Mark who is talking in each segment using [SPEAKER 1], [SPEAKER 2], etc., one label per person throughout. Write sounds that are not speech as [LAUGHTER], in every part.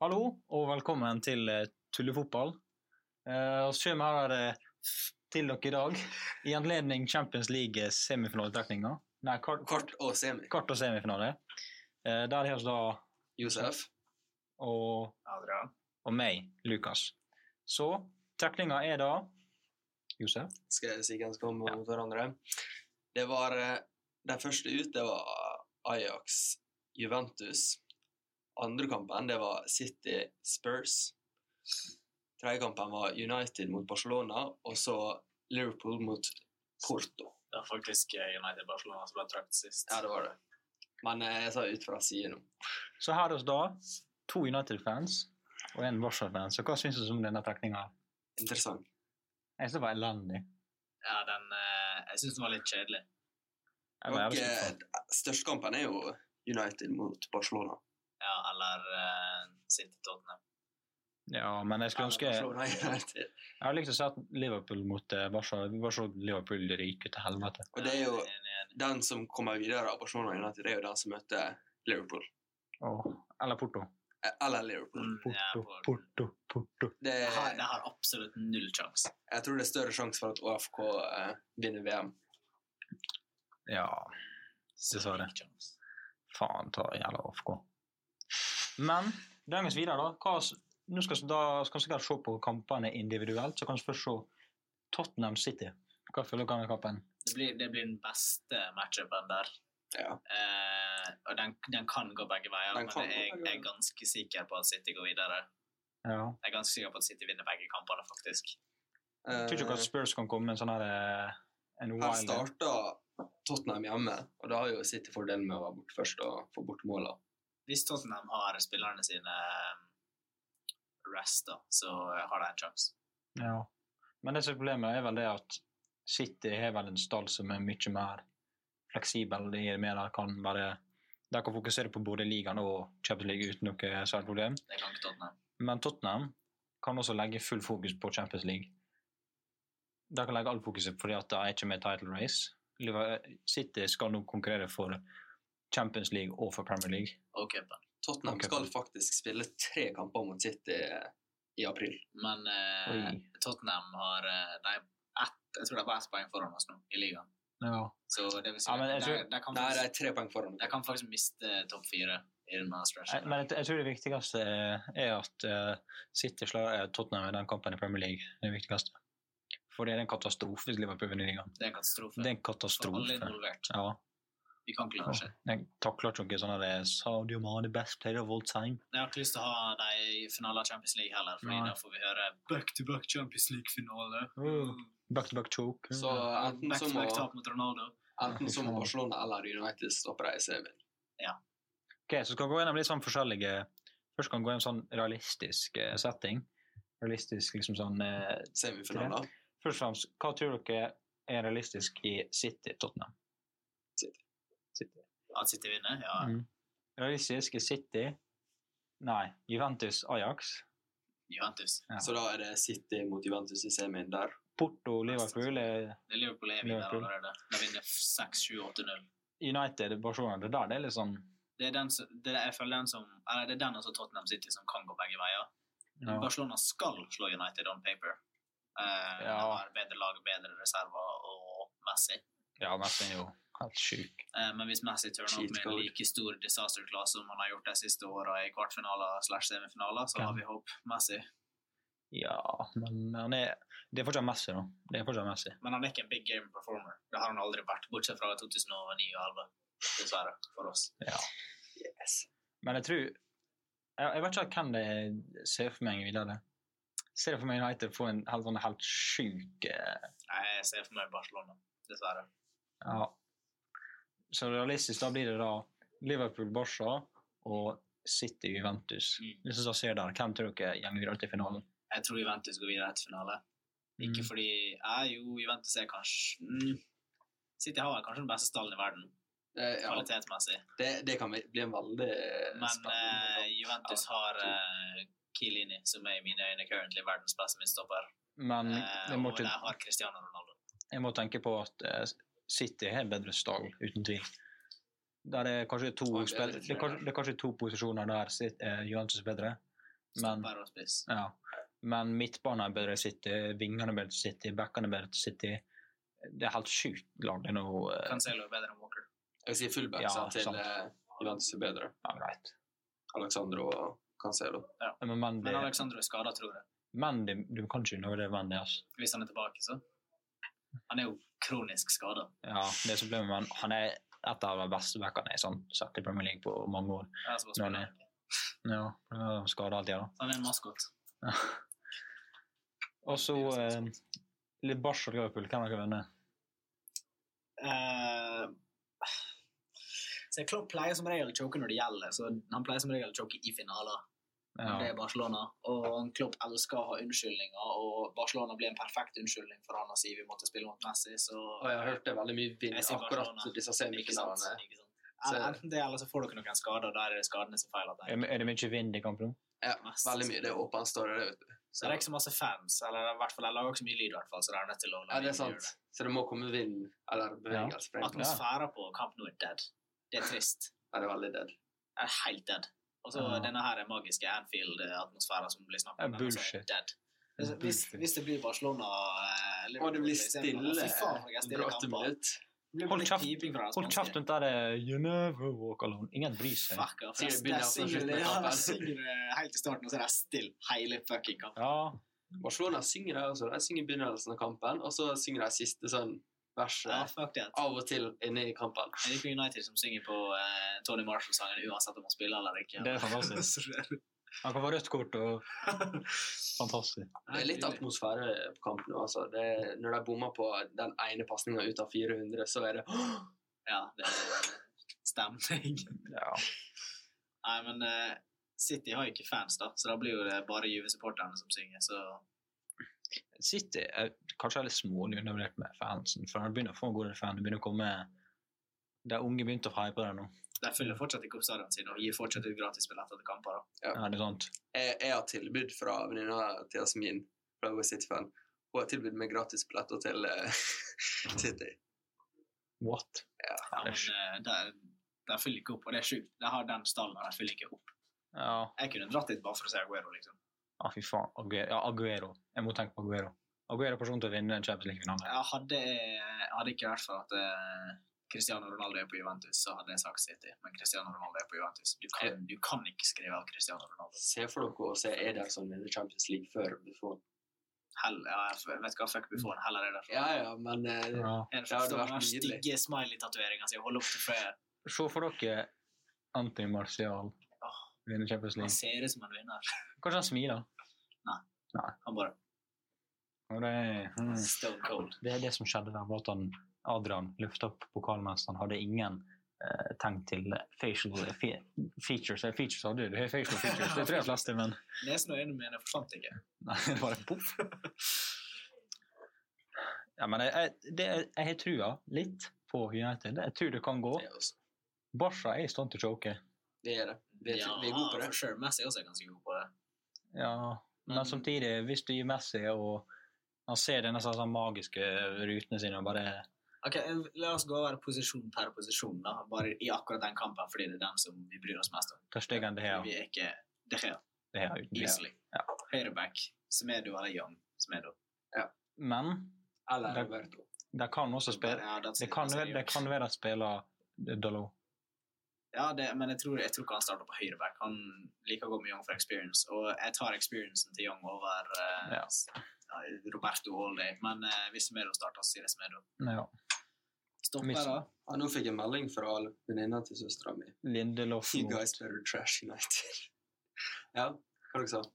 [SPEAKER 1] Hallo, og velkommen til eh, Tullefotball. Eh, og så kommer her eh, til dere i dag i anledning Champions League semifinaletrekninga. Nei, kvart,
[SPEAKER 2] Kvart og semi.
[SPEAKER 1] kvart og semifinale. Eh, der har vi da
[SPEAKER 2] Josef.
[SPEAKER 1] og, og meg, Lukas. Så trekninga er da Josef?
[SPEAKER 2] Skal jeg si hvem som kom mot hverandre? Det var eh, Den første ut, det var Ajax-Juventus. Andre kampen, det var City-Spurs. Tredje kampen var United mot Barcelona, og så Liverpool mot Porto.
[SPEAKER 3] Det var faktisk eh, United Barcelona som ble trukket sist.
[SPEAKER 2] Ja, det var det. Men eh, jeg sa ut fra siden nå.
[SPEAKER 1] Så her hos da to United-fans og en Barca-fan. Så hva syns du om denne trekninga?
[SPEAKER 2] Interessant.
[SPEAKER 1] Jeg syns det var elendig.
[SPEAKER 3] Ja, den, eh, jeg syns den var litt kjedelig.
[SPEAKER 1] Jeg var
[SPEAKER 2] Og,
[SPEAKER 1] jævlig
[SPEAKER 2] eh,
[SPEAKER 1] skuffet.
[SPEAKER 2] største kampen er jo United mot Barcelona.
[SPEAKER 3] Ja, eller uh, City Tottenham.
[SPEAKER 1] Ja, men jeg skulle ønske
[SPEAKER 2] Eller Barcelona United.
[SPEAKER 1] Jeg har likt å se at Liverpool mot eh, Barca Vi bare så Liverpool ryke til helvete.
[SPEAKER 2] Og det er jo
[SPEAKER 3] Enig, enig.
[SPEAKER 2] den som kommer videre av Barcelona United, det er jo den som møter Liverpool.
[SPEAKER 1] Åh, Eller Porto.
[SPEAKER 2] Eh, Eller Liverpool.
[SPEAKER 3] Mm, ja, på-
[SPEAKER 1] Porto, Porto.
[SPEAKER 2] Det,
[SPEAKER 3] Det har, det har absolutt null sjanse.
[SPEAKER 2] jeg tror det er større sjanse for at AFK eh, vinner VM.
[SPEAKER 1] Ja, Dessverre. faen ta jævla AFK. Men dagens videre, da. Hva, s- nå skal vi da skal vi sikkert se på kampene individuelt. Så kan vi først se Tottenham City. Hva føler dere om den kampen?
[SPEAKER 3] Det blir, det blir den beste matchupen der.
[SPEAKER 2] Ja.
[SPEAKER 3] Eh, og den, den kan gå begge veier,
[SPEAKER 2] Den
[SPEAKER 3] men
[SPEAKER 2] kan
[SPEAKER 3] jeg,
[SPEAKER 2] gå
[SPEAKER 3] jeg
[SPEAKER 2] begge
[SPEAKER 3] er ganske sikker på at City går videre.
[SPEAKER 1] Ja.
[SPEAKER 3] Jeg er ganske sikker på at City vinner begge kampene, faktisk.
[SPEAKER 2] Eh,
[SPEAKER 1] Tror ikke at Spurs kan komme med en sånn her eh, en
[SPEAKER 2] her
[SPEAKER 1] wild
[SPEAKER 2] starta Tottenham hjemme, og da har jo City fordelen med å være borte først og få bort måla.
[SPEAKER 3] Hvis Tottenham har spillerne sine eh, rest, da, så har de en sjanse.
[SPEAKER 1] Ja. Men det som er problemet, er vel det at City har vel en stall som er mye mer fleksibel. De er mer der kan bare De kan fokusere på både ligaen og Champions League uten noe særlig problem.
[SPEAKER 3] Det kan ikke Tottenham.
[SPEAKER 1] Men Tottenham kan også legge full fokus på Champions League. De kan legge all fokuset fordi at de er ikke med i title race. Liver- City skal nå konkurrere for Champions League og for Premier League.
[SPEAKER 3] og cupen.
[SPEAKER 2] Tottenham
[SPEAKER 1] Ok.
[SPEAKER 2] skal faktisk spille tre kamper mot City eh, i april.
[SPEAKER 3] Men eh,
[SPEAKER 1] Oi.
[SPEAKER 3] Tottenham har eh, de er ett, Jeg tror de er bare ett poeng foran oss nå i ligaen.
[SPEAKER 1] Ja.
[SPEAKER 3] Så det vil si
[SPEAKER 1] Ja, men jeg
[SPEAKER 3] de-
[SPEAKER 1] tror-
[SPEAKER 3] de kan
[SPEAKER 2] Nei, de
[SPEAKER 3] faktisk-
[SPEAKER 2] er tre poeng foran.
[SPEAKER 3] de kan faktisk miste topp fire i denne
[SPEAKER 1] Jeg-
[SPEAKER 3] stretchen.
[SPEAKER 1] Men jeg, jeg tror det viktigste er er at eh, City slår eh, Tottenham i den kampen i Premier League. Det er det viktigste. For det er en katastrofe hvis Liverpool vinner ligaen.
[SPEAKER 3] Det er en katastrofe.
[SPEAKER 1] Det er en
[SPEAKER 3] For alle
[SPEAKER 1] katastrofe.
[SPEAKER 3] involvert.
[SPEAKER 1] Ja.
[SPEAKER 3] Vi kan ikke la det skje.
[SPEAKER 1] Jeg takler ikke noe sånn at det er Sadio Mane, the best player of all time.
[SPEAKER 3] Jeg har ikke lyst til å ha dem i finalen av Champions League heller, for
[SPEAKER 1] Nei.
[SPEAKER 3] da får vi høre back-to-back Champions League-finale.
[SPEAKER 1] Mm. Back-to-back choke.
[SPEAKER 2] Så
[SPEAKER 3] Mm.
[SPEAKER 2] enten så må,
[SPEAKER 3] Back-to-back-tap mot Ronaldo.
[SPEAKER 2] enten så må Barcelona eller United stoppe dem i semien.
[SPEAKER 1] Ok, så skal vi gå gjennom litt sånn forskjellige Først kan vi gå gjennom sånn realistisk eh, setting. Realistisk liksom sånn eh,
[SPEAKER 2] Semifinaler.
[SPEAKER 1] Først og fremst, hva tror dere er realistisk i City Tottenham?
[SPEAKER 2] City.
[SPEAKER 1] City.
[SPEAKER 3] At City vinner? Ja.
[SPEAKER 1] Mm. Realistisk i City Nei, Juventus Ajax.
[SPEAKER 3] Juventus.
[SPEAKER 1] Ja.
[SPEAKER 2] Så da er det City mot Juventus i semien der.
[SPEAKER 1] Porto Liverpool eh, er
[SPEAKER 3] Det er Liverpool er vinner
[SPEAKER 1] Liverpool.
[SPEAKER 3] allerede. De vinner 6-7-8-0.
[SPEAKER 1] United Barcelona. Det der det er litt sånn
[SPEAKER 3] det er den, som- det er, jeg føler den som eller det er den og så Tottenham City som kan gå begge veier.
[SPEAKER 1] ja.
[SPEAKER 3] Barcelona skal slå United on paper. Eh,
[SPEAKER 1] Ja.
[SPEAKER 3] De har bedre lag, bedre reserver og Messi.
[SPEAKER 1] ja, Messi er jo helt sjuk.
[SPEAKER 3] Eh, men hvis Messi turner opp med en
[SPEAKER 2] Cheat
[SPEAKER 3] like stor disaster class som han har gjort de siste åra i kvartfinaler slash semifinaler, så
[SPEAKER 1] Ja.
[SPEAKER 3] har vi håp. Messi.
[SPEAKER 1] Ja, men eh, han er Det er fortsatt Messi, da. Det er fortsatt Messi.
[SPEAKER 3] Men han er ikke en big game performer. Det har han aldri vært, bortsett fra 2009 og 2011. Dessverre for oss.
[SPEAKER 2] Yes.
[SPEAKER 1] Men jeg tror Jeg, jeg vet ikke hvem det ser for meg videre. Ser jeg for meg United få en helt, sånn, helt sjuk eh,
[SPEAKER 3] Nei, Jeg ser for meg Barcelona, dessverre.
[SPEAKER 1] ja. Så realistisk da blir det da Liverpool-Barca og City-Juventus.
[SPEAKER 3] Mm.
[SPEAKER 1] Hvis vi ser der, Hvem tror dere går videre til finalen?
[SPEAKER 3] Jeg tror Juventus går videre til finale. Ikke
[SPEAKER 1] Mm.
[SPEAKER 3] fordi ja, Jo, Juventus er kanskje mm, City har vel kanskje den beste stallen i verden,
[SPEAKER 2] Eh, ja,
[SPEAKER 3] kvalitetsmessig.
[SPEAKER 2] det, det kan bli bli en veldig eh,
[SPEAKER 3] Men
[SPEAKER 2] spennende
[SPEAKER 3] eh, Juventus har eh, Chiellini, som er i mine øyne currently verdens beste midtstopper.
[SPEAKER 1] Men
[SPEAKER 3] Eh,
[SPEAKER 1] jeg må,
[SPEAKER 3] og
[SPEAKER 1] ikke,
[SPEAKER 3] der har Cristiano Ronaldo.
[SPEAKER 1] jeg må tenke på at eh, City har en bedre stall, uten tvil. Der er kanskje to
[SPEAKER 2] Og en bedre
[SPEAKER 1] spill, det, er kanskje,
[SPEAKER 2] trener.
[SPEAKER 1] det er kanskje to posisjoner der City- eh, Juventus er bedre. Men,
[SPEAKER 3] Stopper og spiss.
[SPEAKER 1] ja. Men midtbanen er bedre til City, vingene er bedre til City, backene er bedre til City. Det er helt sjukt lag det nå. eh,
[SPEAKER 3] Cancelo er bedre enn Walker.
[SPEAKER 2] Jeg vil si fullback
[SPEAKER 1] Ja,
[SPEAKER 2] sa til
[SPEAKER 1] sant.
[SPEAKER 2] eh, Juventus er bedre.
[SPEAKER 1] Ja, greit.
[SPEAKER 2] Alexandro og Cancelo.
[SPEAKER 1] Men, men,
[SPEAKER 3] Men
[SPEAKER 1] det,
[SPEAKER 3] Alexandro er skada, tror jeg.
[SPEAKER 1] men det, du kan ikke nå det vennet, altså.
[SPEAKER 3] Hvis han er tilbake, så. Han er jo kronisk skada.
[SPEAKER 1] Ja, det er så problemet, men han er et av de beste backene i sånn sett i Premier League på mange år.
[SPEAKER 3] Så
[SPEAKER 1] Nei, nei. Ja, han er skadet alltid, da.
[SPEAKER 3] han er en maskot.
[SPEAKER 1] Og så eh, litt Barca og Liverpool, hvem har dere vunnet?
[SPEAKER 3] Eh, så Klopp pleier som regel å choke når det gjelder, så han pleier som regel å choke i finaler.
[SPEAKER 1] Ja.
[SPEAKER 3] Det er Barcelona, og han Klopp elsker å ha unnskyldninger, og Barcelona blir en perfekt unnskyldning for han å si vi måtte spille mot Messi, så
[SPEAKER 2] Og jeg har hørt det er veldig mye vind
[SPEAKER 3] Jeg sier
[SPEAKER 2] akkurat
[SPEAKER 3] Barcelona.
[SPEAKER 2] disse
[SPEAKER 3] Ikke sant?
[SPEAKER 2] semifinalene.
[SPEAKER 3] Ikke sant? Eller,
[SPEAKER 2] Så-
[SPEAKER 3] enten det, eller så får dere noen skader der er det skadene som feiler deg.
[SPEAKER 1] Er det- er det mye vind i kampen?
[SPEAKER 2] Ja,
[SPEAKER 3] Mest.
[SPEAKER 2] veldig mye. Det er åpen story, det, vet du.
[SPEAKER 3] Så det er ikke så masse fans, eller i hvert fall jeg lager ikke så mye lyd, i hvert fall, så det er nødt til å la
[SPEAKER 2] Ja, det er
[SPEAKER 3] vinden gjøre
[SPEAKER 2] sant. Så det må komme vind eller bevegelse. fra en plass.
[SPEAKER 3] Atmosfæren på Camp Nou er dead. Det er trist.
[SPEAKER 2] Ja, det er veldig dead.
[SPEAKER 3] Det er helt dead. Og så
[SPEAKER 1] Ja.
[SPEAKER 3] denne her magiske Anfield-atmosfæren som blir
[SPEAKER 1] Det
[SPEAKER 3] snakket
[SPEAKER 1] er
[SPEAKER 3] den også
[SPEAKER 1] bullshit.
[SPEAKER 3] dead. Hvis, hvis,
[SPEAKER 1] Bullshit.
[SPEAKER 3] hvis det blir Barcelona eh,
[SPEAKER 2] Og
[SPEAKER 3] Liverpool
[SPEAKER 2] det blir
[SPEAKER 3] i
[SPEAKER 2] stille
[SPEAKER 3] semifinalen, Fy faen, jeg er
[SPEAKER 2] under
[SPEAKER 3] stille
[SPEAKER 2] åtte
[SPEAKER 3] kamper.
[SPEAKER 2] minutter.
[SPEAKER 3] Det blir bare
[SPEAKER 1] Hold
[SPEAKER 3] litt
[SPEAKER 1] kjeft.
[SPEAKER 3] piping fra den
[SPEAKER 1] Hold
[SPEAKER 3] spanske.
[SPEAKER 1] kjeft rundt der eh, You never walk alone. Ingen bryr seg.
[SPEAKER 3] Fuck off.
[SPEAKER 2] Sier
[SPEAKER 3] Det
[SPEAKER 2] det begynner
[SPEAKER 3] er
[SPEAKER 2] altså å slutte
[SPEAKER 3] single,
[SPEAKER 2] med
[SPEAKER 3] ja,
[SPEAKER 2] kampen.
[SPEAKER 3] single, eh, helt i starten, og så er det stille hele fucking kampen.
[SPEAKER 1] Ja,
[SPEAKER 2] Barcelona synger det også. De synger i begynnelsen av kampen, og så synger de siste sånn
[SPEAKER 3] Ja,
[SPEAKER 2] verset
[SPEAKER 3] fuck det.
[SPEAKER 2] av og til inne i kampen.
[SPEAKER 3] Jeg liker United som synger på eh, Tony Marshall-sangen uansett om han spiller eller ikke.
[SPEAKER 1] det er fantastisk.
[SPEAKER 3] [LAUGHS] Så det er-
[SPEAKER 1] Han kan få rødt kort og Fantastisk.
[SPEAKER 2] Det er litt
[SPEAKER 3] nydelig.
[SPEAKER 2] atmosfære på kampen. Altså. Det, når de bommer på den ene pasninga ut av 400, så er det
[SPEAKER 3] Ja, det er [LAUGHS] stemning.
[SPEAKER 1] Ja.
[SPEAKER 3] Nei, men eh, City har jo ikke fans, da, så da blir jo det bare Juve-supporterne som synger. Så
[SPEAKER 1] City er kanskje litt smålig undervurdert med fansen, for han begynner å få en god del fan. Det begynner å komme De unge begynte å hype det nå.
[SPEAKER 3] de fyller fortsatt ikke opp stadionene sine og gir fortsatt ut gratisbilletter til kamper. da.
[SPEAKER 1] Ja, det er sant.
[SPEAKER 2] Jeg, jeg har tilbud fra venninna til Jasmin, fra West City-fan. Hun har tilbud med gratisbilletter til eh, [LAUGHS] City.
[SPEAKER 1] What?
[SPEAKER 3] Ja, men eh, de- de fyller ikke opp, og det er sjukt. De har den stallen, og de fyller ikke opp.
[SPEAKER 1] Ja.
[SPEAKER 3] Jeg kunne dratt dit bare for å se Aguero, liksom.
[SPEAKER 1] Ja, fy faen. Aguero. Ja, Aguero. Jeg må tenke på Aguero. Aguero er personen til å vinne en Champions League-finale.
[SPEAKER 3] Jeg hadde, hadde ikke vært for at eh, Cristiano Ronaldo er på Juventus, så hadde jeg sagt City. Men Cristiano Ronaldo er på Juventus. Du kan, du kan ikke skrive av Cristiano Ronaldo.
[SPEAKER 2] Se for dere å se Ederson vinne Champions League før Buffon.
[SPEAKER 3] Hell, ja, jeg vet ikke hva fuck Buffon heller er derfor.
[SPEAKER 2] Ja, ja, men eh,
[SPEAKER 1] Ja.
[SPEAKER 3] En
[SPEAKER 2] Det hadde
[SPEAKER 3] forstår
[SPEAKER 2] vært
[SPEAKER 3] den
[SPEAKER 2] nydelig.
[SPEAKER 3] stygge smiley-tatoveringa si. Hold opp til flere.
[SPEAKER 1] Se for dere Anthony Martial
[SPEAKER 3] Åh,
[SPEAKER 1] vinne Champions
[SPEAKER 3] han
[SPEAKER 1] League.
[SPEAKER 3] ser ut som en vinner.
[SPEAKER 1] Kanskje han smiler.
[SPEAKER 3] Han bare
[SPEAKER 1] Og det, er- mm.
[SPEAKER 3] stone cold.
[SPEAKER 1] det er det som skjedde der, var at han, Adrian løfta opp pokalen mens han hadde ingen eh, tegn til facial fe features. Eh, Features hadde du, det er facial features. Det tror [LAUGHS] jeg de fleste, men
[SPEAKER 3] Nesen og øynene mine forsvant ikke.
[SPEAKER 1] Nei, det var en poff. Ja, men jeg, jeg, det, jeg har trua litt på United. Jeg tror det kan gå.
[SPEAKER 2] det er oss.
[SPEAKER 1] Barca er i stand til å choke.
[SPEAKER 2] Vi er det. Vi er, vi er gode på det.
[SPEAKER 3] for sure. Messi også er ganske god på det.
[SPEAKER 1] Ja, men
[SPEAKER 3] Men-
[SPEAKER 1] samtidig, hvis du gir Messi og han ser denne sånn, sånn magiske rutene sine og bare
[SPEAKER 3] Ok, eh, La oss gå over posisjon per posisjon, da. bare i akkurat den kampen, fordi det er den som vi bryr oss mest om.
[SPEAKER 1] tar stegen det her,
[SPEAKER 3] Vi er ikke det her,
[SPEAKER 1] det her uten tvil.
[SPEAKER 3] easily.
[SPEAKER 1] Ja.
[SPEAKER 3] Høyreback, Semedo eller Young. Semedo.
[SPEAKER 1] Men
[SPEAKER 2] Eller
[SPEAKER 1] Det-
[SPEAKER 2] Roberto.
[SPEAKER 1] de kan også spille
[SPEAKER 3] Ja, that's
[SPEAKER 1] Det
[SPEAKER 3] it,
[SPEAKER 1] kan,
[SPEAKER 3] that's
[SPEAKER 1] være-
[SPEAKER 3] it.
[SPEAKER 1] det kan være at spiller Dalot.
[SPEAKER 3] Ja, det, men jeg tror, jeg tror ikke han starter på høyreback. Han liker å gå med Young for experience, og jeg tar experiencen til Young over eh,
[SPEAKER 1] Ja.
[SPEAKER 3] s- ja, Roberto Holiday. Men eh, hvis Semedo starter, så sier jeg Semedo.
[SPEAKER 1] Ja.
[SPEAKER 3] Stopper,
[SPEAKER 1] Miss-
[SPEAKER 3] da?
[SPEAKER 2] Ja, nå fikk jeg melding fra venninna til søstera mi.
[SPEAKER 1] Lindelof
[SPEAKER 2] You
[SPEAKER 1] mot-
[SPEAKER 2] guys better trash United. [LAUGHS] ja, hva dere sa dere?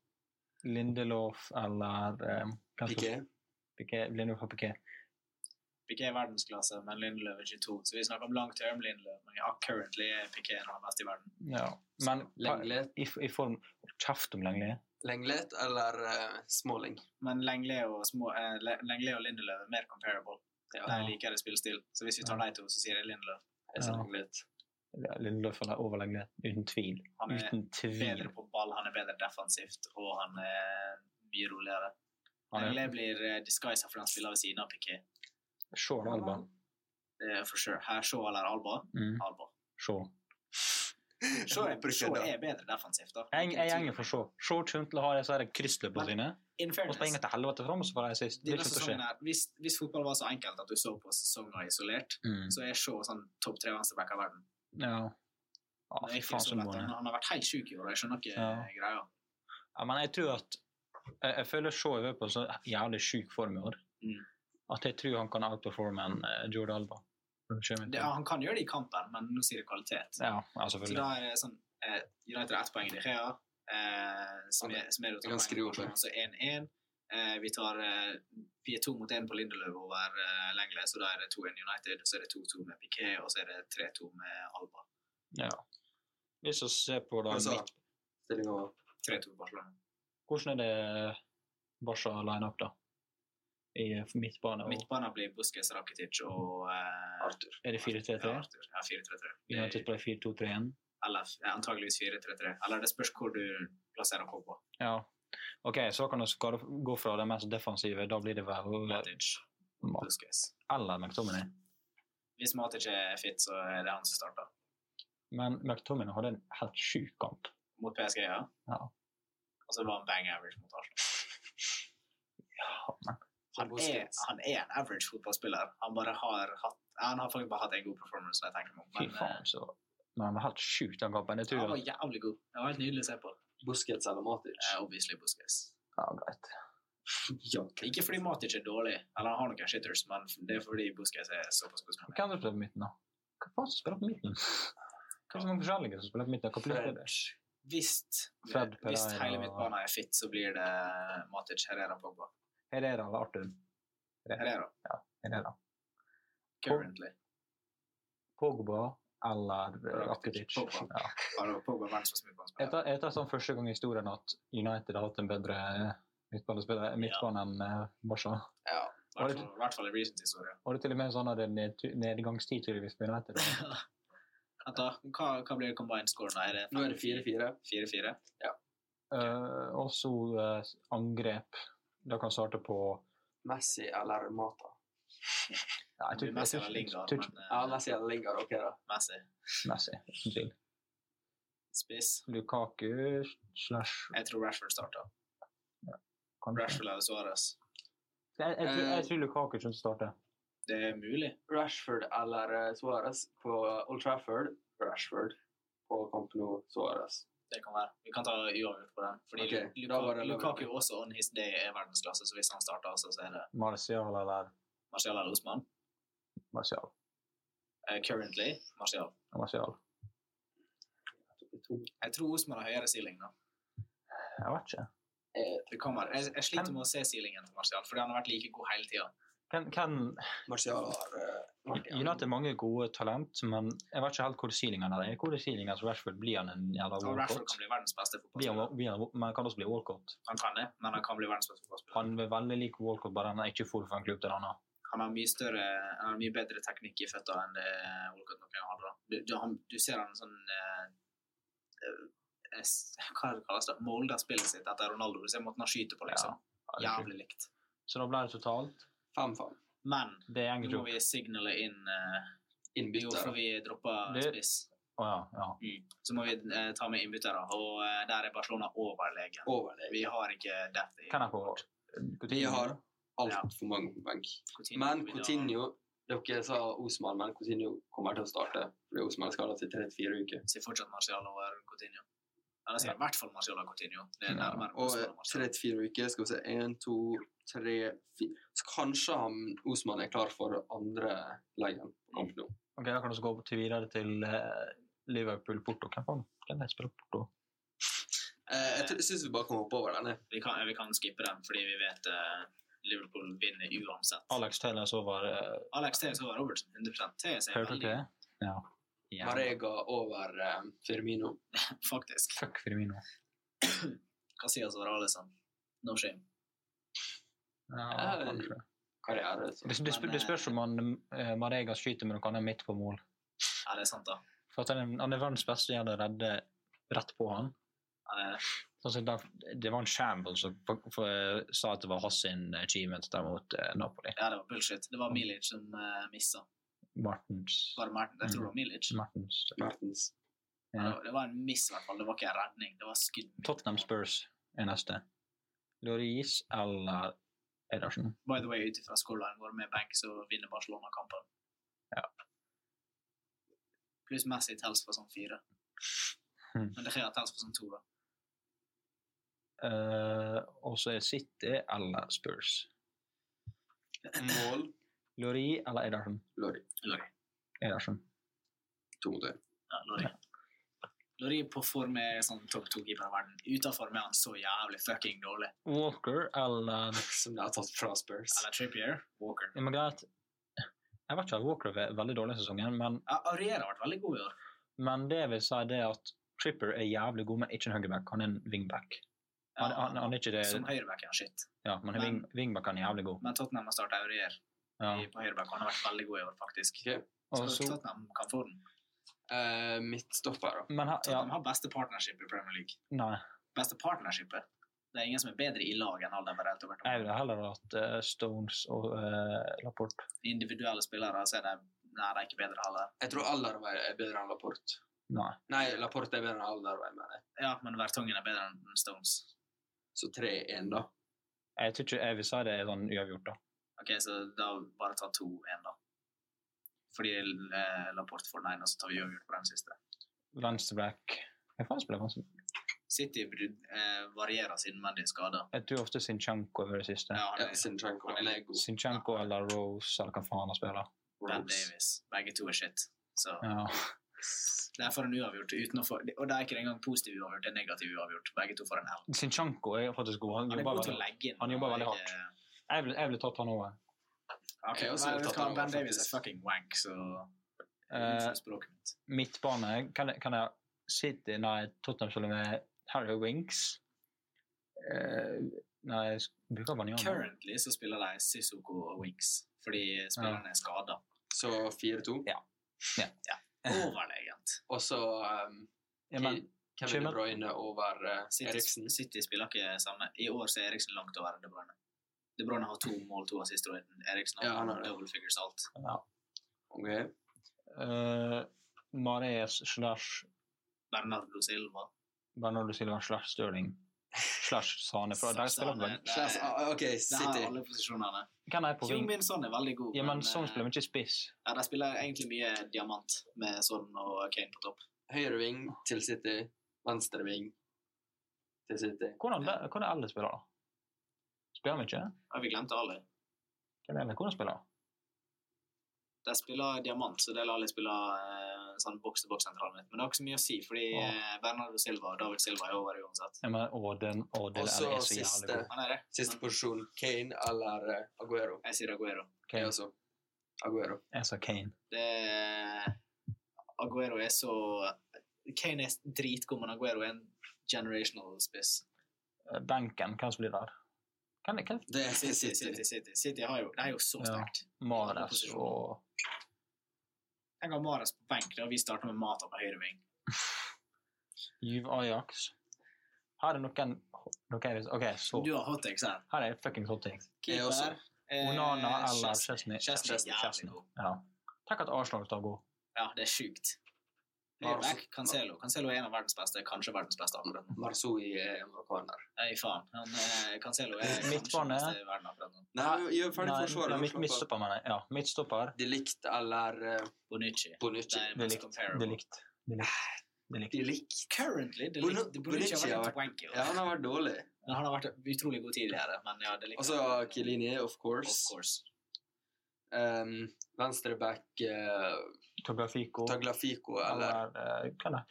[SPEAKER 1] Lindelof eller eh, hvem som-
[SPEAKER 2] Piqué?
[SPEAKER 1] Piqué, Lindelof og Piqué.
[SPEAKER 3] Piqué er verdensklasse, men Lindløv er 22. Så vi snakker om long term Lindløv, men ja, currently er Piqué en av de beste i verden.
[SPEAKER 1] Ja. Men pa-
[SPEAKER 2] Lenglet,
[SPEAKER 1] i, i form Kjeft om Lenglet.
[SPEAKER 2] lenglet eller eh, Smalling?
[SPEAKER 3] Men Lenglé og, små, eh, Le- Lenglet og Lindeløv er mer comparable.
[SPEAKER 2] Ja.
[SPEAKER 3] De liker det spillestil. Så hvis vi tar de to, så sier jeg Lindløv.
[SPEAKER 2] Jeg sa
[SPEAKER 1] Ja.
[SPEAKER 2] Lenglet.
[SPEAKER 1] Ja, Lindelof eller over Lenglet. Uten tvil.
[SPEAKER 3] Han er
[SPEAKER 1] Uten tvil.
[SPEAKER 3] bedre på ball, han er bedre defensivt, og han er mye roligere.
[SPEAKER 1] Han er
[SPEAKER 3] Lenglet blir eh, disguiset for han spiller ved siden av Piqué.
[SPEAKER 1] Shaw Alba.
[SPEAKER 3] Det er for sure. Her Shaw eller Alba?
[SPEAKER 1] Mm.
[SPEAKER 3] Alba.
[SPEAKER 1] Shaw.
[SPEAKER 3] Shaw er,
[SPEAKER 2] håper ikke
[SPEAKER 3] Shaw
[SPEAKER 2] det.
[SPEAKER 3] er bedre defensivt, da.
[SPEAKER 1] Jeg, jeg gjenger for Shaw. Shaw kommer til å ha disse her kryssløpene sine.
[SPEAKER 3] In
[SPEAKER 1] Og
[SPEAKER 3] fairness,
[SPEAKER 1] springer til helvete fram, og så får de sist. Det
[SPEAKER 3] denne
[SPEAKER 1] kommer til å skje.
[SPEAKER 3] sesongen her, hvis, hvis fotball var så enkelt at du så på sesonger isolert,
[SPEAKER 1] Mm.
[SPEAKER 3] så er Shaw sånn topp tre venstreback av verden.
[SPEAKER 1] Ja. Ja,
[SPEAKER 3] Det
[SPEAKER 1] Ah,
[SPEAKER 3] er
[SPEAKER 1] fy
[SPEAKER 3] ikke
[SPEAKER 1] faen,
[SPEAKER 3] så
[SPEAKER 1] så
[SPEAKER 3] lett.
[SPEAKER 1] god han
[SPEAKER 3] han,
[SPEAKER 1] er.
[SPEAKER 3] han har vært helt sjuk i år, og jeg skjønner ikke
[SPEAKER 1] Ja.
[SPEAKER 3] eh, greia.
[SPEAKER 1] Ja, men jeg tror at Jeg, jeg føler Shaw er på så jævlig sjuk form i år
[SPEAKER 3] Mm.
[SPEAKER 1] at jeg tror han kan outperforme en eh, Jordi Alba. Det kommer
[SPEAKER 3] Det,
[SPEAKER 1] til.
[SPEAKER 3] han kan gjøre det i kampen, men nå sier det kvalitet.
[SPEAKER 1] Ja, ja,
[SPEAKER 3] Så
[SPEAKER 1] selvfølgelig.
[SPEAKER 3] da er det sånn eh, United har ett poeng i De Gea, eh, som er, som er
[SPEAKER 2] Jeg kan skrive opp det.
[SPEAKER 3] Altså 1-1. Eh, vi, tar, eh, vi er to mot én på Lindeløv over eh, Lenglet, så da er det 2-1 United. Så er det 2-2 med Piquet, og så er det 3-2 med Alba.
[SPEAKER 1] Ja. Hvis vi ser på da
[SPEAKER 2] Men
[SPEAKER 3] Altså-
[SPEAKER 2] så-
[SPEAKER 1] midt-
[SPEAKER 2] Stillinga var
[SPEAKER 3] 3-2 Barcelona.
[SPEAKER 1] Hvordan er det Barca line up, da? I midtbane? Og,
[SPEAKER 3] Midtbanen blir Busquets, Rakitic og eh,
[SPEAKER 2] Arthur.
[SPEAKER 1] er det 4-3-3?
[SPEAKER 3] Ja, Arthur. Ja, 4-3-3.
[SPEAKER 1] United
[SPEAKER 3] Det-
[SPEAKER 1] spiller 4-2-3-1.
[SPEAKER 3] Eller ja, antageligvis 4-3-3. Eller det spørs hvor du plasserer Pogba.
[SPEAKER 1] Ja. OK, så kan vi gå fra det mest defensive. Da blir det vel
[SPEAKER 3] Matic,
[SPEAKER 1] Ma-
[SPEAKER 3] Busquets.
[SPEAKER 1] eller McTominay.
[SPEAKER 3] Hvis Matic er fit, så er det han som starter.
[SPEAKER 1] Men McTominay hadde en helt sjuk kamp.
[SPEAKER 3] Mot PSG, ja.
[SPEAKER 1] Ja.
[SPEAKER 3] Og så var han bang average mot Arsenal.
[SPEAKER 1] Ja, men
[SPEAKER 3] Han er,
[SPEAKER 2] Busquets.
[SPEAKER 3] han er en average fotballspiller. Han bare har hatt han har faktisk bare hatt en god performance. når jeg tenker meg om.
[SPEAKER 1] fy
[SPEAKER 3] Men, eh,
[SPEAKER 1] faen, så Men han var helt sjuk, den kampen. Jeg
[SPEAKER 3] han
[SPEAKER 1] tror
[SPEAKER 3] var
[SPEAKER 1] at
[SPEAKER 3] jævlig god. Det var helt nydelig å se på.
[SPEAKER 2] Busquets eller Matic?
[SPEAKER 3] Eh, obviously Busquets.
[SPEAKER 1] Ja, greit.
[SPEAKER 2] [LAUGHS] Ja.
[SPEAKER 3] Ikke fordi Matic er dårlig, eller han har noen shitters, men det er fordi Busquets er såpass god som han er.
[SPEAKER 1] Hvem er det som spiller på midten, da? Hva faen som spiller på midten? Hva er det så mange forskjellige som spiller på midten? Hva blir det?
[SPEAKER 2] Fred.
[SPEAKER 3] Hvis
[SPEAKER 1] Fred
[SPEAKER 3] hvis
[SPEAKER 1] Pereira.
[SPEAKER 3] hele midtbanen er fit, så blir det eh, Matic, Herrera, Pogba.
[SPEAKER 1] Herrera eller Arthur?
[SPEAKER 3] Herrera,
[SPEAKER 1] Herrera.
[SPEAKER 3] currently.
[SPEAKER 1] Pogba eller eh, Rakitic.
[SPEAKER 3] Pogba.
[SPEAKER 1] Ja.
[SPEAKER 3] Har Pogba verdens beste
[SPEAKER 1] Jeg
[SPEAKER 3] midtbanespiller?
[SPEAKER 1] tar, jeg tar sånn første gang i historien at United har hatt en bedre eh, midtbanespiller midtbane enn eh, Barca.
[SPEAKER 2] Ja.
[SPEAKER 3] I hvert fall- I hvert fall i recent historie.
[SPEAKER 1] Og det er til og med sånn at det er nedtu- nedgangstid tydeligvis på United.
[SPEAKER 3] Vent da, hva, hva blir combined score nå? Er det
[SPEAKER 2] Nå er det 4-4.
[SPEAKER 3] 4-4?
[SPEAKER 1] Eh, og så eh, angrep. Da kan starte på
[SPEAKER 2] Messi eller Mata?
[SPEAKER 1] Nei,
[SPEAKER 3] Det blir Messi eller
[SPEAKER 1] jeg
[SPEAKER 3] Lingard,
[SPEAKER 1] tror ikke-
[SPEAKER 3] men
[SPEAKER 2] Ja,
[SPEAKER 3] eh,
[SPEAKER 2] Messi eller Lingard. Ok, da.
[SPEAKER 3] Messi.
[SPEAKER 1] Messi. uten tvil.
[SPEAKER 3] Spiss.
[SPEAKER 1] Lukaku slash
[SPEAKER 3] Jeg tror Rashford starter.
[SPEAKER 1] kanskje.
[SPEAKER 3] Rashford eller Suarez.
[SPEAKER 1] Jeg, jeg, tror- jeg tror Lukaku kommer til å starte.
[SPEAKER 3] Det er mulig.
[SPEAKER 2] Rashford eller eh, Suarez på Old Trafford? Rashford på kamp nå, Suarez.
[SPEAKER 3] Det kan være. Vi kan ta uavgjort på den. Fordi
[SPEAKER 2] Ok,
[SPEAKER 3] Lu-
[SPEAKER 2] da var det
[SPEAKER 3] Lukaku, Lukaku
[SPEAKER 2] uavgjort.
[SPEAKER 3] også on his day er verdensklasse, så hvis han starter, også, så er det
[SPEAKER 1] Martial eller
[SPEAKER 3] Marcial eller Osman.
[SPEAKER 1] Martial.
[SPEAKER 3] Eh, currently Marcial.
[SPEAKER 1] Martial.
[SPEAKER 3] Jeg tror Osman har høyere ceiling nå.
[SPEAKER 1] Jeg vet ikke.
[SPEAKER 2] Eh,
[SPEAKER 3] Det kan være. Jeg, jeg sliter
[SPEAKER 1] Hvem-
[SPEAKER 3] med å se ceilingen til Marcial, fordi han har vært like god hele tida.
[SPEAKER 1] Hvem, hvem
[SPEAKER 2] Martial har eh, vært i-
[SPEAKER 1] United har mange gode talent, men jeg vet ikke helt hvor sealingen er. Hvor er sealingen til Rashford? Blir han en jævla
[SPEAKER 3] Og Rashford
[SPEAKER 1] walkout?
[SPEAKER 3] kan bli verdens beste
[SPEAKER 1] Blir
[SPEAKER 3] fotballspiller.
[SPEAKER 1] han- blir han- Men han kan også bli walkout.
[SPEAKER 3] Han kan det, men han kan bli verdens beste fotballspiller.
[SPEAKER 1] Han er veldig lik walkout, bare han er ikke full for en klubb til en annen.
[SPEAKER 3] han har mye større han har mye bedre teknikk i føtta enn det Walcott noen gang hadde. da. Du, du, han, du ser han sånn eh, eh, s- Hva er det kalles det? Molder spillet sitt etter Ronaldo. Du ser måten han skyter på, liksom.
[SPEAKER 1] Ja, det er sjukt.
[SPEAKER 3] Jævlig likt.
[SPEAKER 1] Så da ble det totalt.
[SPEAKER 2] 5-5.
[SPEAKER 3] Men
[SPEAKER 1] Det er
[SPEAKER 3] nå
[SPEAKER 1] egentlig
[SPEAKER 3] må
[SPEAKER 1] opp.
[SPEAKER 3] vi signale inn eh, Jo, for
[SPEAKER 2] Innbytter.
[SPEAKER 3] vi dropper
[SPEAKER 1] Det-
[SPEAKER 3] spiss.
[SPEAKER 1] Å ja, ja.
[SPEAKER 3] Mm. Så må vi eh, ta med innbyttere, og eh, der er Barcelona overlegen.
[SPEAKER 2] Overlegen.
[SPEAKER 3] Vi har ikke depth i
[SPEAKER 1] Kan jeg få
[SPEAKER 2] Vi
[SPEAKER 1] Coutinho?
[SPEAKER 2] har altfor mange på benk.
[SPEAKER 3] Coutinho
[SPEAKER 2] Men
[SPEAKER 3] vil ha-
[SPEAKER 2] Coutinho Dere sa Osman, men Coutinho kommer til å starte. Fordi Osman skal ha til 34 uker.
[SPEAKER 3] Så fortsatt Marcial over Coutinho. Eller så er det i hvert fall Marcial og Coutinho. Det er
[SPEAKER 1] Ja,
[SPEAKER 3] nærmere
[SPEAKER 2] Og
[SPEAKER 3] Osman
[SPEAKER 2] eh, 34 uker, skal vi se 1, 2, 3, 4 Så kanskje han, Osman er klar for andre leien på kamp nå.
[SPEAKER 1] Ok, da kan vi gå opp til videre til eh, Liverpool-Porto. Hvem faen? Hvem er det som spiller Porto?
[SPEAKER 2] Eh, jeg tror- jeg syns vi bare kan hoppe over den. jeg.
[SPEAKER 3] Vi kan, vi kan skippe den, fordi vi vet eh, Liverpool vinner uansett.
[SPEAKER 1] Alex Taylor så var uh,
[SPEAKER 3] Alex Theus over Robertson, 100 Theus er
[SPEAKER 1] Hørte
[SPEAKER 3] veldig
[SPEAKER 1] dere det? Ja.
[SPEAKER 2] Marega over eh, Firmino.
[SPEAKER 3] Faktisk.
[SPEAKER 1] Fuck Firmino.
[SPEAKER 3] Casillas over Alisson. No shame.
[SPEAKER 1] Ja,
[SPEAKER 2] Eh,
[SPEAKER 1] kanskje.
[SPEAKER 2] Karriere. Så.
[SPEAKER 3] Liksom-
[SPEAKER 1] Det, det, spør, det spørs om han, eh, Marega skyter med noe annet midt på mål.
[SPEAKER 3] Ja, det er sant, da.
[SPEAKER 1] For at han, er- han er verdens beste til å redde rett på han.
[SPEAKER 3] Ja, det er-
[SPEAKER 1] Sånn som da- det var en Shamble som f- f- sa at det var hans sin achievement der mot eh, Napoli.
[SPEAKER 3] ja, det var bullshit. Det var Milic som uh, missa.
[SPEAKER 1] Martens. Mm.
[SPEAKER 3] Var det Mertens? Jeg tror det var Milic.
[SPEAKER 1] Martens.
[SPEAKER 2] Mertens.
[SPEAKER 1] Ja.
[SPEAKER 3] Det var en miss, i hvert fall. Det var ikke en redning. Det var skudd. midt
[SPEAKER 1] Tottenham
[SPEAKER 3] på.
[SPEAKER 1] Spurs er neste. Loris eller Edersen?
[SPEAKER 3] By the way, ut ifra scoreline vår med benk, så vinner Barcelona kampen.
[SPEAKER 1] Ja.
[SPEAKER 3] Pluss Messi tells for sånn fire.
[SPEAKER 1] Hmm.
[SPEAKER 3] Men det Gea tells for sånn to, da.
[SPEAKER 1] Eh, og så er City eller Spurs.
[SPEAKER 2] Mål
[SPEAKER 1] Loris eller Edersen?
[SPEAKER 4] Lorry.
[SPEAKER 1] Edersen.
[SPEAKER 4] To mot
[SPEAKER 3] [LAUGHS]
[SPEAKER 4] én.
[SPEAKER 3] Ja, Lori. Lori på form er sånn topp to-keeper i verden. Utenfor er han så jævlig fucking dårlig.
[SPEAKER 1] Walker eller eh,
[SPEAKER 2] som de har tatt fra Spurs.
[SPEAKER 3] Eller Trippier. Walker.
[SPEAKER 1] Ja, men greit. Jeg vet ikke at Walker er veldig dårlig i sesongen, men,
[SPEAKER 3] Ja, Arriera har vært veldig god i år.
[SPEAKER 1] men det vil si det at Tripper er jævlig god, men ikke en høyreback. Han er en wingback. Han, han, han er ikke det
[SPEAKER 3] Som høyreback er han shit.
[SPEAKER 1] Ja, men, wing, wingback han er jævlig god.
[SPEAKER 3] Men Tottenham har starta Aurier
[SPEAKER 1] Ja.
[SPEAKER 3] i- på høyreback. Han har vært veldig god i år, faktisk.
[SPEAKER 2] Ok.
[SPEAKER 1] Og
[SPEAKER 3] Så
[SPEAKER 1] så,
[SPEAKER 3] Tottenham kan få den.
[SPEAKER 2] Eh, Midtstopper, da.
[SPEAKER 1] men her, ja,
[SPEAKER 3] Tottenham har beste partnership i Premier League.
[SPEAKER 1] nei.
[SPEAKER 3] Beste partnershipet. Det er ingen som er bedre i lag enn alle de har rett over
[SPEAKER 1] Jeg
[SPEAKER 3] til.
[SPEAKER 1] ville heller hatt eh, Stones og eh, Laporte.
[SPEAKER 3] Individuelle spillere så er de Nei, de er ikke bedre heller.
[SPEAKER 2] Jeg tror Alderweil er bedre enn Laporte.
[SPEAKER 1] Nei.
[SPEAKER 2] Nei, Laporte er bedre enn Alderweil, mener jeg.
[SPEAKER 3] Ja, men Vertongen er bedre enn Stones.
[SPEAKER 2] Så 3-1, da.
[SPEAKER 1] Jeg tror ikke jeg vil si det er sånn uavgjort, da.
[SPEAKER 3] Ok, så da bare ta to igjen, da. Fordi eh, Laporte får den ene, og så tar vi uavgjort på den siste.
[SPEAKER 1] Venstreback Jeg faen spiller venstre.
[SPEAKER 3] City brud- eh, varierer siden Mendy er skada.
[SPEAKER 1] Jeg tror ofte Sinchenko er det siste.
[SPEAKER 3] Ja, han
[SPEAKER 2] Ja,
[SPEAKER 3] er
[SPEAKER 2] Sinchenko han er god.
[SPEAKER 1] Sinchenko eller Rose eller hva faen han spiller.
[SPEAKER 3] Ben
[SPEAKER 2] Rose.
[SPEAKER 3] Davies. Begge to er shit. Så
[SPEAKER 1] Ja.
[SPEAKER 3] det er for en uavgjort uten å få Og det er ikke engang positiv uavgjort, det er negativ uavgjort. Begge to får en L.
[SPEAKER 1] Sinchenko er faktisk god. Han
[SPEAKER 3] Han er
[SPEAKER 1] jobber
[SPEAKER 3] god til å
[SPEAKER 1] veldig.
[SPEAKER 3] legge inn.
[SPEAKER 1] han jobber
[SPEAKER 3] og
[SPEAKER 1] veldig
[SPEAKER 3] ikke-
[SPEAKER 1] Jeg ville jeg ville tatt han over. Eh,
[SPEAKER 3] Ok,
[SPEAKER 2] Jeg er også
[SPEAKER 3] nei, vet
[SPEAKER 2] opptatt
[SPEAKER 3] du hva,
[SPEAKER 2] av
[SPEAKER 3] Ben
[SPEAKER 2] det,
[SPEAKER 3] Davies er
[SPEAKER 2] faktisk.
[SPEAKER 3] fucking wank, så
[SPEAKER 1] Eh,
[SPEAKER 3] Unnskyld språket mitt.
[SPEAKER 1] midtbane kan jeg, kan jeg City Nei, Tottenham spiller med Harry Winks. Eh, nei, jeg bruker Banjana.
[SPEAKER 3] Currently så spiller de Sissoko og Winks, fordi spillerne er skada.
[SPEAKER 2] Så 4-2.
[SPEAKER 3] Overlegent.
[SPEAKER 2] Og så um,
[SPEAKER 1] Ja, men Kjømen.
[SPEAKER 2] Kevin De Bruyne over eh,
[SPEAKER 3] City,
[SPEAKER 2] Eriksen.
[SPEAKER 3] City spiller ikke samme. I år så er Eriksen langt over De Bruyne. De Bruyne har to mål, to assist, og Eriksen har
[SPEAKER 2] Ja, han har det.
[SPEAKER 3] double figures alt.
[SPEAKER 1] ja.
[SPEAKER 2] Ok.
[SPEAKER 1] Eh, Mares slash
[SPEAKER 3] Bernardo Silva.
[SPEAKER 1] Bernardo Silva slash Stirling slash Sane. For de spiller
[SPEAKER 3] Sane.
[SPEAKER 1] vel-
[SPEAKER 3] Nei.
[SPEAKER 2] Slags- ah, OK,
[SPEAKER 3] Det her er
[SPEAKER 2] City.
[SPEAKER 3] alle posisjonene.
[SPEAKER 1] Hvem er på
[SPEAKER 3] Jung
[SPEAKER 1] wing?
[SPEAKER 3] Min Son er veldig god,
[SPEAKER 1] Ja, men
[SPEAKER 3] eh,
[SPEAKER 1] Son spiller mye spiss.
[SPEAKER 3] ja, de spiller egentlig mye diamant med Son og Kane på topp.
[SPEAKER 2] Høyre ving til City. Venstre ving til City.
[SPEAKER 1] Hvordan, hvordan alle spiller, da? Spiller han ikke?
[SPEAKER 3] Ja, vi glemte alle.
[SPEAKER 1] Hvem er det? Hvordan spiller han?
[SPEAKER 3] De spiller diamant, så det lar alle spille eh, sånn boks-til-boks-sentralen litt. Men det har ikke så mye å si, fordi
[SPEAKER 1] Ja.
[SPEAKER 3] eh, Bernardo Silva og David Silva er over uansett.
[SPEAKER 1] Ja, men Åden Åden
[SPEAKER 2] Og så
[SPEAKER 1] er så jævlig
[SPEAKER 2] siste,
[SPEAKER 1] god.
[SPEAKER 3] Han er det.
[SPEAKER 2] siste posisjon. Kane eller eh, Aguero.
[SPEAKER 3] Jeg sier Aguero.
[SPEAKER 2] Jeg
[SPEAKER 1] Kane.
[SPEAKER 2] også. Aguero.
[SPEAKER 1] Jeg sa Kane.
[SPEAKER 3] Det Aguero er så Kane er dritgod, men Aguero er en generational spiss.
[SPEAKER 1] Eh, Benken, hvem spiller der? Hvem hvem-
[SPEAKER 2] Det er
[SPEAKER 3] City,
[SPEAKER 2] City.
[SPEAKER 3] City, City. City har jo, det er jo så
[SPEAKER 1] Ja.
[SPEAKER 3] sterkt.
[SPEAKER 1] Mares og
[SPEAKER 3] Tenk om Mares på benk, da vi starter med Mata på høyre ving.
[SPEAKER 1] Juve Ajax. Her er noen Ok, hvis- ok, så.
[SPEAKER 3] Du har hot eggs her.
[SPEAKER 1] Her er fucking hot takes.
[SPEAKER 2] Jeg også.
[SPEAKER 3] eh,
[SPEAKER 1] Onana eller Chesney?
[SPEAKER 3] Chesney. Chesney er jævlig
[SPEAKER 1] Chesney.
[SPEAKER 3] god.
[SPEAKER 1] Ja. Tenk at Arsenal skal gå.
[SPEAKER 3] Ja, det er sjukt. Høyreback, Cancelo. Cancelo er en av verdens beste, kanskje verdens beste akkurat nå.
[SPEAKER 2] Marzoi er marokkaner.
[SPEAKER 3] Nei, faen. Han, eh, Cancelo er kanskje den
[SPEAKER 1] Midtbane.
[SPEAKER 3] beste i verden akkurat nå.
[SPEAKER 2] Nei, gjør ferdig
[SPEAKER 1] Nei, ja, midt,
[SPEAKER 2] forsvaret.
[SPEAKER 1] midtstopper, mener jeg. Ja, midtstopper.
[SPEAKER 2] De Ligt eller eh,
[SPEAKER 3] Bonucci.
[SPEAKER 2] Bonucci.
[SPEAKER 3] Det er
[SPEAKER 1] Det er
[SPEAKER 3] mest
[SPEAKER 1] likt. Det er
[SPEAKER 3] comparable.
[SPEAKER 1] likt. Det er likt. Det er likt.
[SPEAKER 2] De Ligt.
[SPEAKER 3] Currently, det er
[SPEAKER 2] Bono-
[SPEAKER 3] likt. Bonucci har
[SPEAKER 2] Bonucci har
[SPEAKER 3] vært wanky.
[SPEAKER 2] Ja, han har vært dårlig.
[SPEAKER 3] Men han har vært utrolig god tidligere. Men ja, det er likt.
[SPEAKER 2] Og så Kilini, of
[SPEAKER 3] Of
[SPEAKER 2] course.
[SPEAKER 3] course.
[SPEAKER 2] Um, Venstreback eh,
[SPEAKER 1] Tografico
[SPEAKER 2] Tagliafico eller
[SPEAKER 1] eller eh, Hva er det?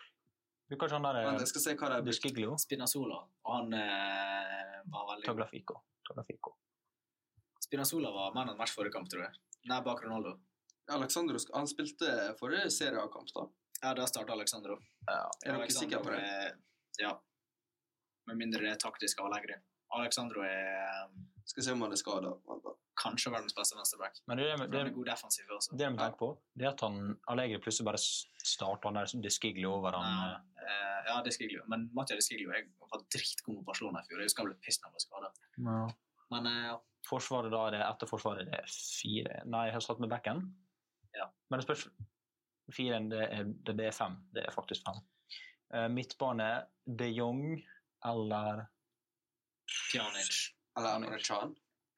[SPEAKER 1] Bruker ikke han der
[SPEAKER 2] Vent,
[SPEAKER 1] eh,
[SPEAKER 2] jeg skal se hva det blir.
[SPEAKER 1] Busquiglio?
[SPEAKER 3] Spinazzola. Og han eh, var veldig
[SPEAKER 1] Tagliafico. Tagliafico.
[SPEAKER 3] Spinazzola var man av match forrige kamp, tror jeg. Nei, bak Ronaldo.
[SPEAKER 2] Alexandro sk- han spilte forrige Serie A-kamp, da.
[SPEAKER 3] Ja, da starta Alexandro.
[SPEAKER 1] Ja.
[SPEAKER 2] Er dere sikre på det?
[SPEAKER 3] Ja. Med mindre det er taktisk avleggere. Alexandro er eh,
[SPEAKER 2] Skal se om han er skada. Vent, da.
[SPEAKER 3] kanskje verdens beste venstreback.
[SPEAKER 1] Men det er det,
[SPEAKER 3] Han er
[SPEAKER 1] det,
[SPEAKER 3] god defensiv også.
[SPEAKER 1] det jeg må tenke på, det er at han Allegri plutselig bare s- starter han der som Busquiglio over han.
[SPEAKER 3] Nei, eh, ja, det skal jeg jo. Men Mattia det skal jeg jo. Jeg var dritgod mot Barcelona i fjor. Jeg skal bli piss når jeg ble skada.
[SPEAKER 1] eh, ja.
[SPEAKER 3] Men eh,
[SPEAKER 1] Forsvaret da er det etter forsvaret det er fire Nei, jeg har satt med bekken.
[SPEAKER 3] Ja.
[SPEAKER 1] Men det spørs Fire, det er, det er fem. Det er faktisk fem. Eh, midtbane de Jong eller
[SPEAKER 3] Pjanic.
[SPEAKER 2] Eller Emre Can.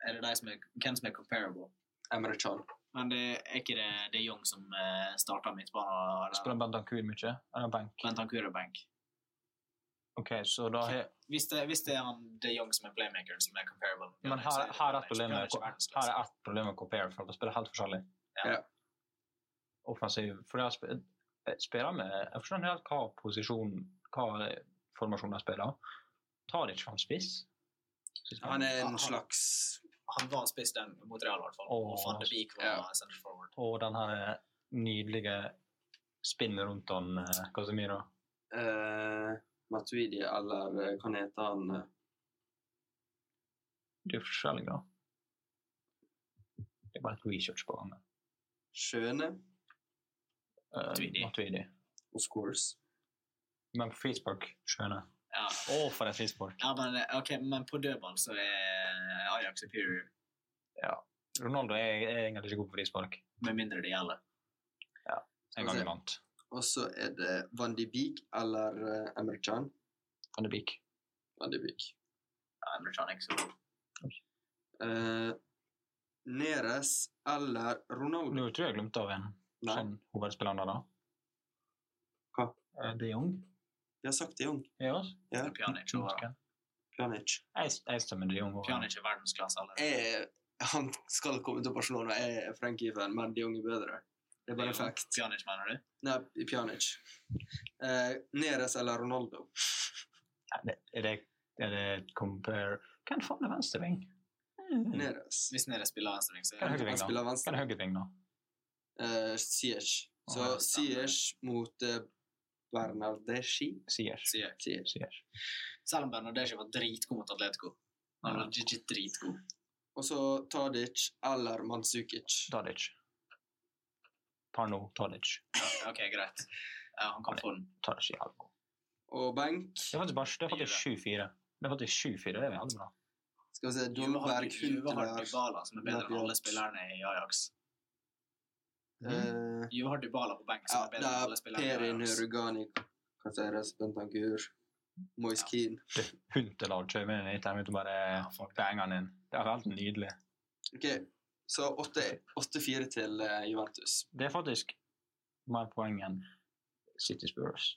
[SPEAKER 3] Er det de som er, hvem som er comparable?
[SPEAKER 2] Emre Can.
[SPEAKER 3] Men det er ikke det, det er Young som uh, starta midtbanen?
[SPEAKER 1] Spiller
[SPEAKER 3] eller?
[SPEAKER 1] Bentancour mye? Eller benk?
[SPEAKER 3] Bent Ancure benk.
[SPEAKER 1] OK, så da har
[SPEAKER 3] Hvis det, hvis det er han De Jong som er playmakeren som er comparable med
[SPEAKER 1] Men
[SPEAKER 3] Pjanic, så
[SPEAKER 1] her,
[SPEAKER 3] det
[SPEAKER 1] her er ett
[SPEAKER 3] Pjanic.
[SPEAKER 1] problem med,
[SPEAKER 3] Pjanic er verdensklasse.
[SPEAKER 1] her er ett problem med Compare, for de spiller helt forskjellig.
[SPEAKER 3] Ja.
[SPEAKER 4] Ja.
[SPEAKER 1] Offensiv For de sp- jeg spiller med Jeg forstår ikke helt hva posisjon Hva formasjon de spiller. Tar ikke han spiss? Synes jeg.
[SPEAKER 2] Han er en
[SPEAKER 3] Han-
[SPEAKER 2] slags
[SPEAKER 3] han var spiss den mot Real, i hvert fall.
[SPEAKER 1] Åh.
[SPEAKER 3] Og van de Beek var
[SPEAKER 2] Ja.
[SPEAKER 3] central forward.
[SPEAKER 1] Og den her nydelige spinnet rundt han eh, Casemiro.
[SPEAKER 2] eh, Matuidi, eller eh, hva han heter han eh,
[SPEAKER 1] Det er jo forskjellig, da. Det er bare et research på gang.
[SPEAKER 2] Skjøne?
[SPEAKER 1] Eh,
[SPEAKER 3] Matuidi.
[SPEAKER 1] Matuidi.
[SPEAKER 2] Of course.
[SPEAKER 1] Men på frispark, skjønner jeg.
[SPEAKER 3] Ja.
[SPEAKER 1] Å, for et frispark!
[SPEAKER 3] Ja, men, eh, ok, men på dødball så er Ajax superior,
[SPEAKER 1] Ronaldo er, er egentlig ikke god på frispark.
[SPEAKER 3] med mindre det gjelder.
[SPEAKER 1] En gang iblant.
[SPEAKER 2] Og så er det Van de Beek eller eh, Emre Can.
[SPEAKER 1] Van de Beek.
[SPEAKER 2] Van de Beek.
[SPEAKER 3] Ja, Emre Can er ikke så god.
[SPEAKER 2] Eh, Neres eller Ronaldo.
[SPEAKER 1] Nå tror jeg jeg glemte av en
[SPEAKER 2] Nei,
[SPEAKER 1] sånn hovedspiller der, da.
[SPEAKER 2] Hva?
[SPEAKER 1] Eh, De Jong?
[SPEAKER 2] vi har sagt det, Jong.
[SPEAKER 1] Ja.
[SPEAKER 2] Ja.
[SPEAKER 3] Så Pjanic, og,
[SPEAKER 2] Pjanic.
[SPEAKER 1] Jeg, jeg stemmer De Jong. over.
[SPEAKER 3] Pjanic er verdensklasse allerede.
[SPEAKER 2] Jeg, Eh, han skal komme til Barcelona, jeg er Frank-given, men de unge er bedre. Det er bare
[SPEAKER 3] Det er jo
[SPEAKER 2] fact.
[SPEAKER 3] Pjanic, mener du?
[SPEAKER 2] Nei, Pjanic. Eh, Neres eller Ronaldo?
[SPEAKER 1] Nei, det- Er det, er det compare Hvem faen er venstreving? Mm.
[SPEAKER 2] Neres.
[SPEAKER 3] Hvis Nere spiller venstreving, så
[SPEAKER 1] Hvem er
[SPEAKER 2] Han
[SPEAKER 1] høyreving, da?
[SPEAKER 2] spiller
[SPEAKER 1] Hvem
[SPEAKER 2] venstre.
[SPEAKER 1] er høyreving, da?
[SPEAKER 2] Eh, Ziyech.
[SPEAKER 1] Å,
[SPEAKER 2] Så
[SPEAKER 1] ja,
[SPEAKER 3] stemmer.
[SPEAKER 2] Ziyech mot eh, Bernardeschi.
[SPEAKER 1] Siers.
[SPEAKER 3] sier jeg.
[SPEAKER 2] Ziyech.
[SPEAKER 1] Siers.
[SPEAKER 3] Selv om Bernadeschi var dritgod mot Atletico. Han var legit dritgod.
[SPEAKER 2] Og så Tadic eller Mandzukic.
[SPEAKER 1] Tadic. Parno Tadic.
[SPEAKER 3] Ja, ok, greit. Ja, han kan få den.
[SPEAKER 1] Tadic er jævlig god.
[SPEAKER 2] Og benk
[SPEAKER 1] Det er faktisk bare- det er faktisk 7-4. Det er faktisk 7-4, det er jævlig bra.
[SPEAKER 2] Skal vi se
[SPEAKER 3] Juve har
[SPEAKER 2] Dolberg,
[SPEAKER 3] Juve har
[SPEAKER 2] Huntelaar
[SPEAKER 3] Dybala, som er bedre enn alle spillerne i Ajax.
[SPEAKER 2] eh,
[SPEAKER 3] Juve har Dybala på benk,
[SPEAKER 2] Ja,
[SPEAKER 3] som er
[SPEAKER 2] det
[SPEAKER 3] bedre enn alle
[SPEAKER 2] er
[SPEAKER 3] spillerne i
[SPEAKER 2] Perin
[SPEAKER 3] Ajax.
[SPEAKER 2] Hurugani, Caceres, Bentancur, Moise
[SPEAKER 3] Ja.
[SPEAKER 2] Keane.
[SPEAKER 1] Huntelag kjører med den hit, jeg vet bare banga den inn. Det er helt nydelig.
[SPEAKER 2] Ok, så 8 8-4 til eh, Juventus.
[SPEAKER 1] Det er faktisk mer poeng enn City Spurs.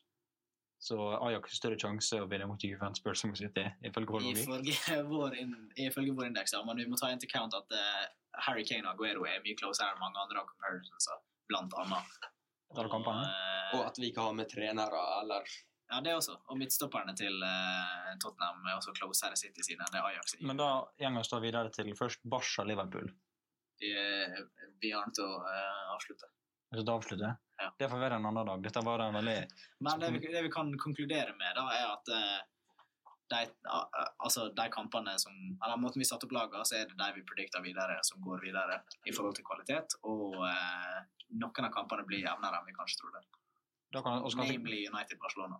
[SPEAKER 1] Så Ajax har større sjanse å vinne mot Juventus Spurs som City, ifølge vår logikk.
[SPEAKER 3] Ifølge [LAUGHS] vår, in, ifølge vår indeks, ja. Men vi må ta into account at eh, Harry Kane og Aguero er mye closere enn mange andre av comparisons, blant annet.
[SPEAKER 1] Etter alle kampene.
[SPEAKER 3] eh,
[SPEAKER 2] Og at vi ikke har med trenere eller
[SPEAKER 3] ja, det også. Og midtstopperne til eh, Tottenham er også closere City sine enn det Ajax er.
[SPEAKER 1] Men da går vi da videre til først Barca Liverpool.
[SPEAKER 3] Vi, eh, vi har den til å eh, avslutte.
[SPEAKER 1] Så Altså, da avslutter jeg.
[SPEAKER 3] Ja.
[SPEAKER 1] Det får være en annen dag. Dette var en veldig
[SPEAKER 3] Men det vi, det vi kan konkludere med, da, er at eh, de, a- a- altså de kampene som Eller måten vi satte opp lagene, så er det de vi predikter videre, som går videre i forhold til kvalitet. Og eh, noen av kampene blir jevnere enn vi kanskje trodde.
[SPEAKER 1] da kan, og skal,
[SPEAKER 3] Namely United Barcelona.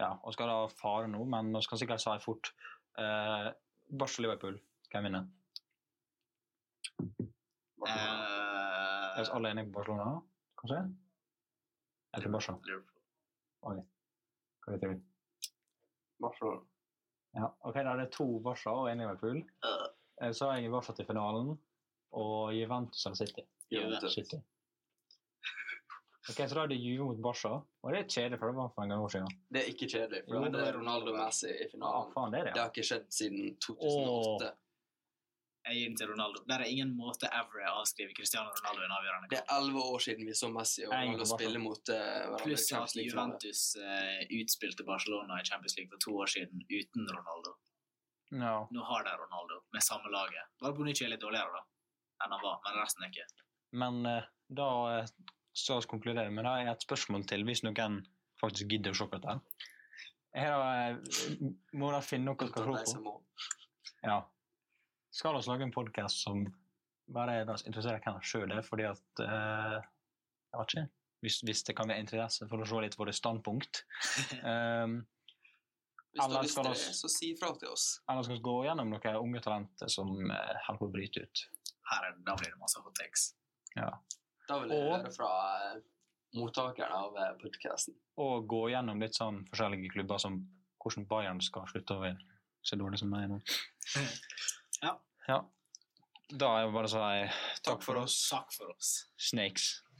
[SPEAKER 1] ja, og skal da fare nå, men vi kan sikkert si fort eh, Barca Liverpool, hvem vinner?
[SPEAKER 3] Eh,
[SPEAKER 1] Er vi alle enige på Barcelona, kanskje? Eller Barca?
[SPEAKER 3] Liverpool.
[SPEAKER 1] Hva vet du?
[SPEAKER 2] Barcelona.
[SPEAKER 1] Ja, ok, da er det to Barca og en Liverpool.
[SPEAKER 3] Øh.
[SPEAKER 1] Eh, Så er jeg i Barca til finalen, og Juventus eller City.
[SPEAKER 2] Juventus.
[SPEAKER 1] City. Ok, så da er det Juve mot Barca, og det er kjedelig, for det var for en gang år siden.
[SPEAKER 2] Det er ikke kjedelig,
[SPEAKER 1] Jo,
[SPEAKER 2] for det
[SPEAKER 3] det-
[SPEAKER 2] er Ronaldo og Messi i
[SPEAKER 1] Ja,
[SPEAKER 2] finalen.
[SPEAKER 1] faen, det er
[SPEAKER 2] Det
[SPEAKER 1] det.
[SPEAKER 2] har ikke skjedd siden 2008.
[SPEAKER 3] Jeg gir den til Ronaldo. Der er ingen måte ever å avskrive Cristiano Ronaldo i en avgjørende
[SPEAKER 2] Det
[SPEAKER 3] kamp.
[SPEAKER 2] er elleve år siden vi så Messi og
[SPEAKER 1] Nei,
[SPEAKER 2] Ronaldo
[SPEAKER 1] Barcelona.
[SPEAKER 2] spille mot eh, hverandre. i
[SPEAKER 3] Pluss at
[SPEAKER 2] Champions League-finalen.
[SPEAKER 3] Juventus eh, utspilte Barcelona i Champions League for to år siden uten Ronaldo.
[SPEAKER 1] Ja. ja.
[SPEAKER 3] Nå har de Ronaldo med samme laget. Bare Bonucci er litt dårligere da, enn han var, men resten er ikke.
[SPEAKER 1] Men eh, da eh, skal vi konkludere med det. Jeg har et spørsmål til, hvis noen faktisk gidder å se på dette. Her har jeg- må dere finne noe dere
[SPEAKER 2] Unntatt
[SPEAKER 1] skal
[SPEAKER 2] de
[SPEAKER 1] se på.
[SPEAKER 2] som må.
[SPEAKER 1] Ja. Skal vi lage en podkast som bare da interesserer hvem sjøl er, fordi at eh, Jeg vet ikke. Hvis, hvis det kan være interesse for å se litt våre
[SPEAKER 3] [LAUGHS]
[SPEAKER 1] standpunkt. Um,
[SPEAKER 2] Hvis du
[SPEAKER 1] Alle
[SPEAKER 2] har lyst
[SPEAKER 1] skal
[SPEAKER 2] til det,
[SPEAKER 1] oss-
[SPEAKER 2] så si ifra til oss.
[SPEAKER 1] eller skal vi gå gjennom noen unge talenter som eh, holder på å bryte ut?
[SPEAKER 3] Her er, da blir det masse hot takes.
[SPEAKER 2] Da vil jeg
[SPEAKER 1] Og-
[SPEAKER 2] høre fra eh, mottakeren av eh, podkasten.
[SPEAKER 1] Og gå gjennom litt sånn forskjellige klubber som hvordan Bayern skal slutte å være så dårlig som meg nå.
[SPEAKER 3] Ja.
[SPEAKER 1] ja. Da er det bare å si
[SPEAKER 3] Takk for oss.
[SPEAKER 1] Snakes.